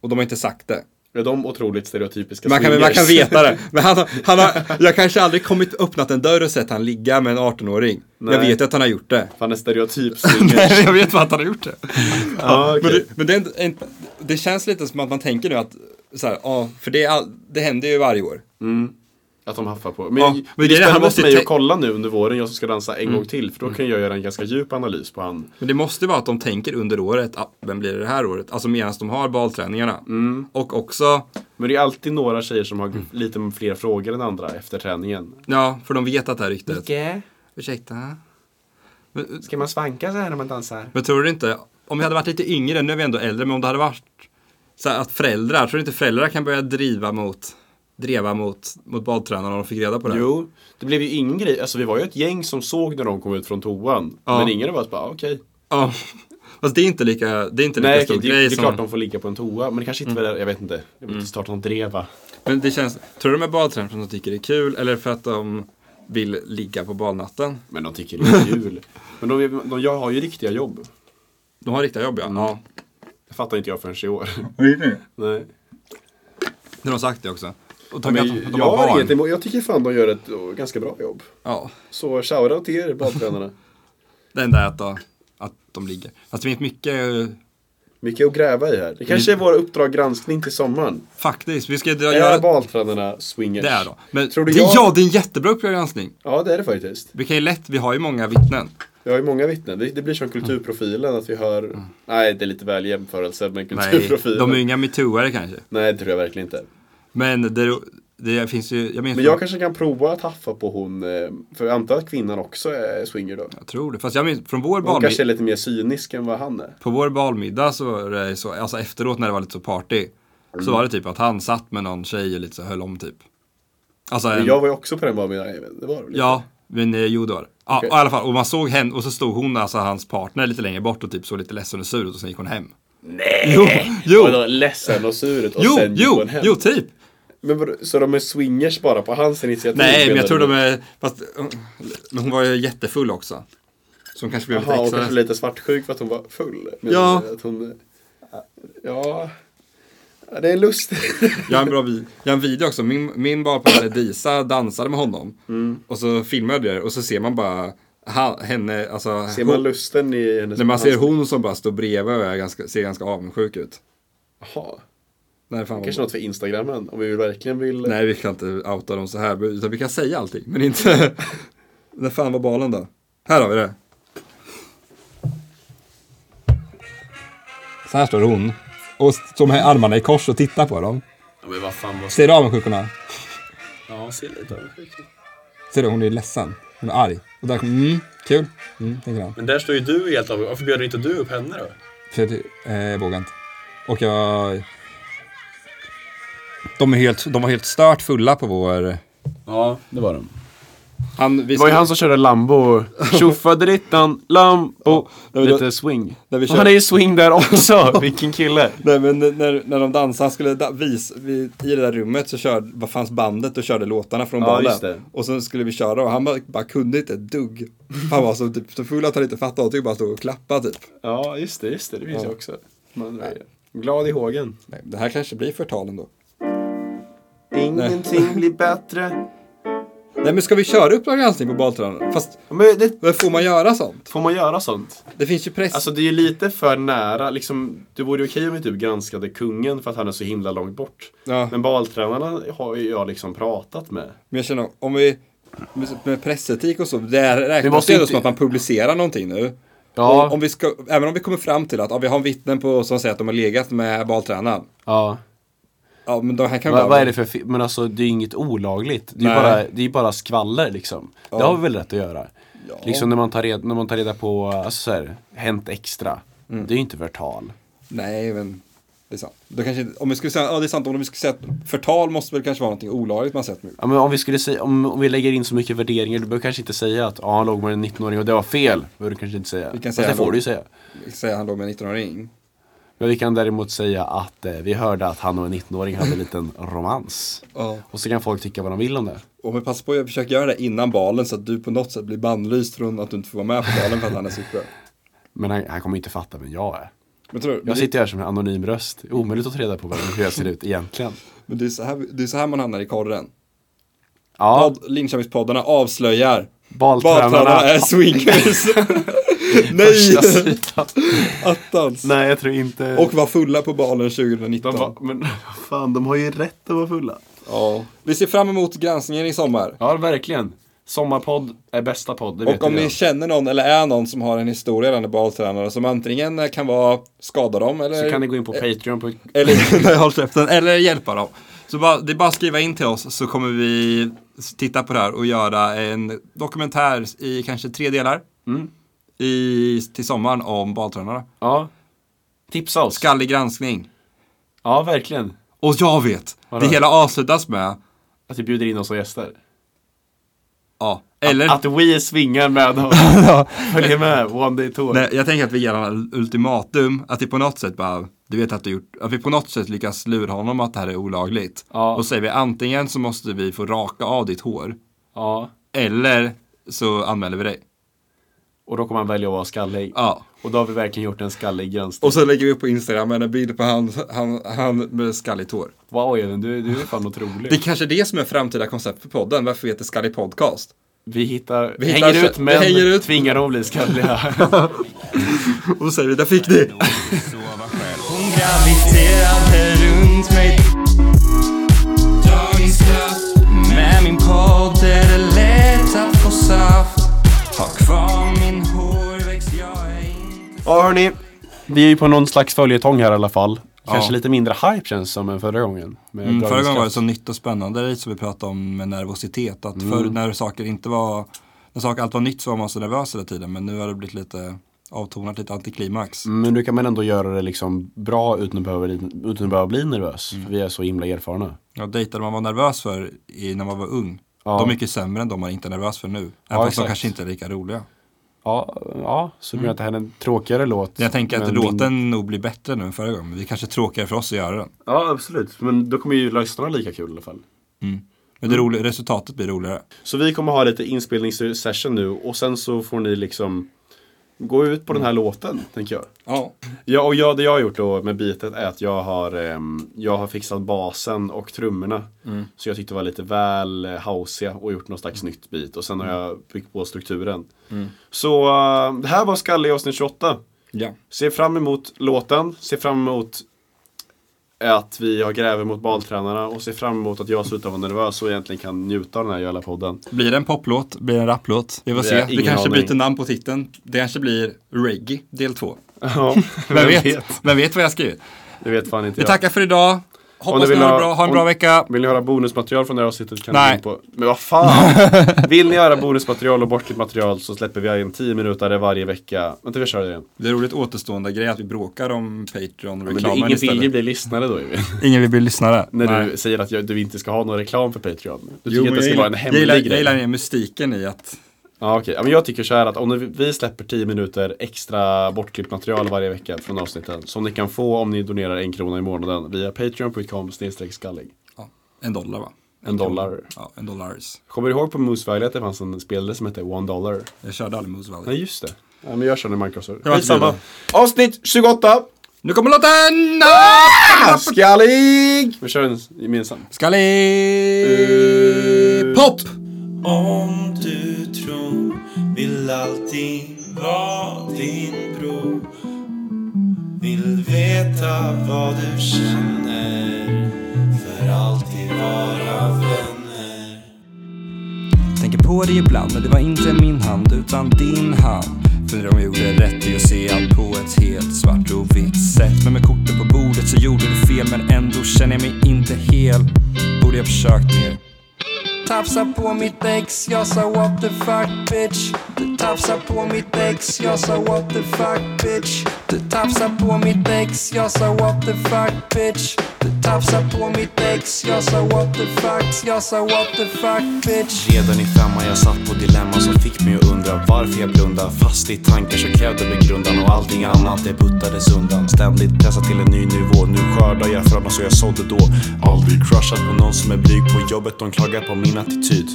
Och de har inte sagt det. Är de otroligt stereotypiska Man kan, swingers? man kan veta <laughs> det. Men han, har- han har, jag kanske aldrig kommit öppnat en dörr och sett han ligga med en 18-åring. Jag Nej. vet att han har gjort <laughs> det. <laughs> Fan, en stereotyp swingers. jag vet vad att han har gjort det. ja, Men, okej. det, men det, är inte- inte- det känns lite som att man tänker nu att, så här, ja, för det, är all, det händer ju varje år. Att de haffar på. Men, Ja, men det är grejen är, han spännande måste för mig ju Mm. att tä- kolla nu under våren, jag som ska dansa en gång till. För då kan jag göra en ganska djup analys på han. Men det måste ju vara att de tänker under året, ah, vem blir det det här året? Alltså medan de har balträningarna. Mm. Och också, Men det är alltid några tjejer som har Mm. lite fler frågor än andra efter träningen. ja, för de vet att det här ryktet. Ursäkta? Ska man svanka så här när man dansar? Men tror du inte, om vi hade varit lite yngre, nu är vi ändå äldre, men om det hade varit så här att föräldrar, tror du inte föräldrar kan börja driva mot, driva mot, mot baltränarna om de fick reda på det? Jo, det blev ju ingen grej. Alltså vi var ju ett gäng som såg när de kom ut från toan. Ja. Men ingen av oss bara, ah, okej. Ja. Fast det är inte lika, det är inte lika Nej, stor okej, det, grej det är som... Mm. klart de får ligga på en toa, men det kanske inte var det, jag vet inte. Jag vill inte starta någon dreva. Men det känns, tror du de är baltränare för att de tycker det är kul eller för att de vill ligga på balnatten? Men de tycker det är kul. men de, de, jag har ju riktiga jobb. De har riktiga jobb ja. ja. Det fattar inte jag förrän i år. Nej. Det har de sagt det också. Och tack Men, att de, att de jag, har har barn. inget emot, jag tycker fan de gör ett och, ganska bra jobb. Ja, Så shoutout till er badtränarna. <laughs> det enda är att, de- att de ligger. Fast det finns mycket, eh, Mycket att gräva i här. Det kanske är vår uppdrag granskning till sommaren. faktiskt. Vi ska dra, Är göra badtränarna swingers? det här då. Men Tror du det, jag- ja, det är en jättebra uppgörelsning. Ja, det är det faktiskt. Vi kan ju lätt, vi har ju många vittnen. Vi har ju många vittnen. Det, det blir Mm. som kulturprofilen, att vi hör... Nej, det är lite väl jämförelse med Nej, kulturprofilen. de är ju inga metooare kanske. Nej, det tror jag verkligen inte. Men det, det finns ju, jag minns Men jag kanske kan prova att haffa på hon, eh, för jag antar att kvinnan också är swinger då. jag tror det. Fast jag minns, från vår Hon barnmiddag. kanske är lite mer cynisk än vad han är. På vår balmiddag så var det så, alltså efteråt när det var lite så party. Så Mm. var det typ att han satt med någon tjej och lite så höll om typ. Alltså Men en, jag var ju också på den barnmiddagen. Det var det väl? ja, Men eh, jo, det var det. Ja, och i alla fall. Och man såg henne och så stod hon, alltså hans partner, lite längre bort och typ såg lite ledsen och sur ut och sen gick hon hem. Nej! Jo, jo, Vadå, ledsen och sur ut och jo, sen gick jo, hon hem. jo typ. Men vadå, så de är swingers bara på hans initiativ? Nej, men menar jag tror du? de är... Fast, men hon var ju jättefull också. Så hon kanske blev Jaha, och lite kanske extra... lite svartsjuk för att hon var full. Men Ja. Att hon, ja. Ja, Det är <laughs> lustigt. Jag har en bra vi- jag har en video också. Min, min barpolare Disa dansade med honom. Mm. Och så filmade jag det och så ser man bara ha, henne, alltså... Ser man alltså- hon, lusten i hennes när man ser hon som bara står bredvid och är ganska, ser ganska avundsjuk ut. Jaha. Nej, fan vad- Kanske något för Instagramen om vi vill- verkligen vill. Nej, vi kan inte outa dem så här. Utan vi kan säga allting, men <laughs> inte... När fan var balen då? Här har vi det. Så här står hon. Och står med armarna i kors och tittar på dem. Men vad fan vad... Ser du avundsjukorna? Ja, ser lite avundsjuk ut. Ser du, hon är ledsen. Hon är arg. Och där kommer, mm, kul. Mm, tänker han. Men där står ju du helt avundsjuk. Varför bjöd inte du upp henne då? För att, eh, jag vågar inte. Och jag... De, är helt, de var helt stört fulla på vår... Ja, det var de. Han, vi Det var ju han som <laughs> körde Lambo. Tjoffaderittan, Lambo. men då- Lite swing. när vi Och kör- Han är ju swing <laughs> där också. Vilken kille. Nej men när, när de dansade, han skulle da, vis, vi, i det där rummet så körde, vad fanns bandet och körde låtarna från Ja, balen. just det. Och sen skulle vi köra och han bara, bara kunde inte ett dugg. Han var så, typ, så full att han inte fattade och typ bara stod och klappade typ. Ja, just det, just det. Det finns ju också. Man är glad i hågen. Nej, det här kanske blir förtal ändå. Ingenting blir bättre. Nej men ska vi köra Uppdrag granskning på baltränaren? Fast Ja, Men det, men får man göra sånt? får man göra sånt? Det finns ju press. Alltså det är ju lite för nära. Liksom, det vore ju okej om vi typ granskade kungen för att han är så himla långt bort. Ja. Men baltränarna har ju jag liksom pratat med. Men jag känner, om vi, med- med pressetik och så, det är- Vi räknas måste det ändå inte- som att man publicerar någonting nu. Ja. Om, om vi ska, även om vi kommer fram till att ja, vi har vittnen på, som säger att de har legat med baltränaren. Ja. Ja men de här kan Vad, bara... vad är det för fi- Men alltså det är ju inget olagligt. Det är ju Nej. bara, det är ju bara skvaller liksom. Det har vi väl rätt att göra. Liksom när man tar reda, när man tar reda på, alltså så här, hänt extra. Mm. Det är ju inte förtal. Nej, men det är sant. Då kanske inte, om vi skulle säga, ja det är sant, om vi skulle säga att förtal måste väl kanske vara någonting olagligt man sett nu. Ja, men om, vi skulle säga, om, om vi lägger in så mycket värderingar, du behöver kanske inte säga att ah, han låg med en 19-åring och det var fel. behöver du kanske inte säga. Vi kan Fast säga det får då. du ju säga. Vi Säger han då med en 19-åring. Men vi kan däremot säga att eh, vi hörde att han och en 19-åring hade en liten romans. Ja. Och så kan folk tycka vad de vill om det. Om vi passar på att försöka göra det innan balen så att du på något sätt blir bannlyst från att du inte får vara med på balen för att han är superbra. Men han, han kommer inte fatta vem jag är. Men tror du, Jag sitter här som en anonym röst. Omöjligt att ta reda på vem- hur jag ser ut egentligen. men det, är så här, det är så här man hamnar i korren. Ja, Podd- Linköpingspoddarna avslöjar. Badtränarna baltränarna. är swingers. <laughs> Nej, attans. Nej, jag tror inte. Och var fulla på balen 2019. men fan, de har ju rätt att vara fulla. Ja. Vi ser fram emot granskningen i sommar. Ja, verkligen. Sommarpodd är bästa podd, det vet Och om jag. ni känner någon eller är någon som har en historia gällande baltränare som antingen kan vara skada dem eller, Så kan ni gå in Eh. på Patreon. På... eller, <laughs> nej, håll käften, eller hjälpa dem. Så bara, det är bara att skriva in till oss så kommer vi s- titta på det här och göra en dokumentär i kanske tre delar. I, till sommaren om baltränare. Ja. Tipsa oss. Skallig granskning. Ja, verkligen. Och jag vet, Vadå? det hela avslutas med Att vi bjuder in oss som gäster. Ja, eller? <laughs> Att vi svingar med dem. Följer med, one day tour. Nej, jag tänker att vi ger honom ultimatum, att vi på något sätt bara, du vet att du gjort, att vi på något sätt lyckas lura honom att det här är olagligt. Ja. Och säger vi antingen så måste vi få raka av ditt hår, Ja. eller så anmäler vi dig. Och då kommer han välja att vara skallig. Ja. Och då har vi verkligen gjort en skallig granskning. Och så lägger vi upp på Instagram en bild på han, han, han med skalligt hår. Wow, Edvin, du, du är fan otrolig. Det är kanske det som är framtida koncept för podden, varför vi heter Skallig Podcast. Vi hittar, Vi hittar- hänger ut vi men hänger ut. tvingar dem att bli skalliga. Och så säger vi, där fick ni! Hon graviterade runt mig Dagens kraft Med min podd är det lätt att få saft Ha kvar min hårväxt, jag är inte Ja hörni, vi är ju på någon slags följetong här i alla fall. Kanske Ja. lite mindre hype känns det som än förra gången. med Mm, Dragens Förra gången var det Kraft. så nytt och spännande som vi pratade om med nervositet. Mm. Att förr när saker inte var, när saker allt var nytt så var man så nervös hela tiden. Men nu har det blivit lite avtonat, lite antiklimax. Men nu kan man ändå göra det liksom bra utan att behöva, Mm. utan att behöva bli nervös. För vi är så himla erfarna. Jag dejtade man var nervös för i, när man var ung. Ja. De är mycket sämre än de man inte är nervös för nu. Även fast de exakt. kanske inte är lika roliga. Ja, ja så du Mm. menar att det här är en tråkigare låt? Jag tänker att men låten nog blir bättre nu än förra gången. Men det är kanske är tråkigare för oss att göra den. Ja, absolut. Men Då kommer ju lyssnarna lika kul i alla fall. Men Mm. det roliga, resultatet blir roligare. Så vi kommer ha lite inspelningssession nu och sen så får ni liksom gå ut på den här låten, tänker jag. Ja. Ja, och jag, det jag har gjort då med bitet är att jag har, ehm, jag har fixat basen och trummorna. Mm. Så jag tyckte det var lite väl eh, hausiga och gjort någon slags nytt bit. Och sen Mm. har jag byggt på strukturen. Så eh, det här var Skalle i avsnitt 28. ja. Se fram emot låten, se fram emot att vi har gräver mot baltränarna och se fram emot att jag slutar vara nervös och egentligen kan njuta av den här jävla podden. <laughs> Blir det en poplåt? Blir det en raplåt? Vi får Vi se. har Vi ingen kanske aning. byter namn på titeln. Det kanske blir Reggae del 2. Ja, Vem vet? Vem vet vad jag har skrivit? Det vet fan inte Vi jag. tackar för idag. Hoppas ni vill har det ha- bra. Ha en om- bra vecka. Vill ni höra bonusmaterial från det här avsnittet kan Nej. ni gå in på... Men vad fan! <laughs> Vill ni höra bonusmaterial och bortklippt material så släpper vi en 10 minuter varje vecka. Vänta, vi kör det igen. Det är roligt återstående grej att vi bråkar om Men det är Patreon-reklamen ingen vill ju istället. bli lyssnare då Emil. Ingen vill bli lyssnare. <laughs> När Nej. du säger att jag, du inte ska ha någon reklam för Patreon. Du Jo, tycker men att det jag ska gillar- vara en hemlig jag gillar, Jag grej. gillar den här mystiken i att Ja, okej. Ja, men jag tycker så här att om ni- vi släpper 10 minuter extra bortklippt material varje vecka från avsnitten som ni kan få om ni donerar en krona i månaden via patreon.com skallig. ja, en dollar va? En dollar. Ja, en dollars. Kommer du ihåg på Moose Valley att det fanns en spelare som hette One Dollar? Jag körde aldrig Moose Nej Valley. just det. Ja, men jag körde Microsoft. Jag var inte Skitsamma. Avsnitt 28! Nu kommer låten! Ah! Skallig! Vi kör en gemensam. Skallig! Pop! Om du tror vill alltid vara din bror Vill veta vad du känner För alltid vara vänner Tänker på det ibland, men det var inte min hand utan din hand. Funderar om jag gjorde rätt i att se allt på ett helt svart och vitt sätt. Men med korten på bordet så gjorde du fel, men ändå känner jag mig inte hel. Borde jag försökt mer? Tafsa på mitt ex, jag sa what the fuck bitch. Du tafsar på mitt ex, jag sa what the fuck bitch. Du tafsar på mitt ex, jag sa what the fuck bitch. Du tafsar på mitt ex, jag sa what the fuck, jag sa what the fuck bitch. Redan i femman jag satt på dilemma som fick mig att undra varför jag blundar Fast i tankar så krävde begrundan och allting annat det buttades undan Ständigt pressad till en ny nivå, nu skördar jag fröna så jag sådde då Aldrig crushat på någon som är blyg på jobbet, de klagar på min attityd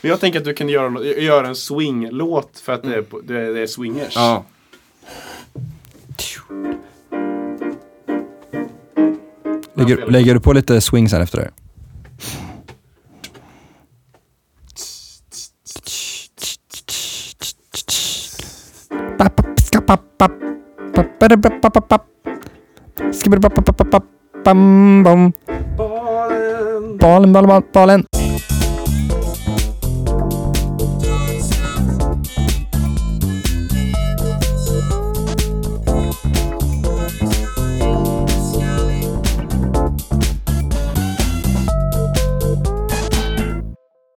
Men jag tänker att du kan göra, nå- göra en swinglåt för att det är, på- det är, det är swingers. Ja. Lägger, lägger du på lite swing sen efter det? Balen, balen, balen.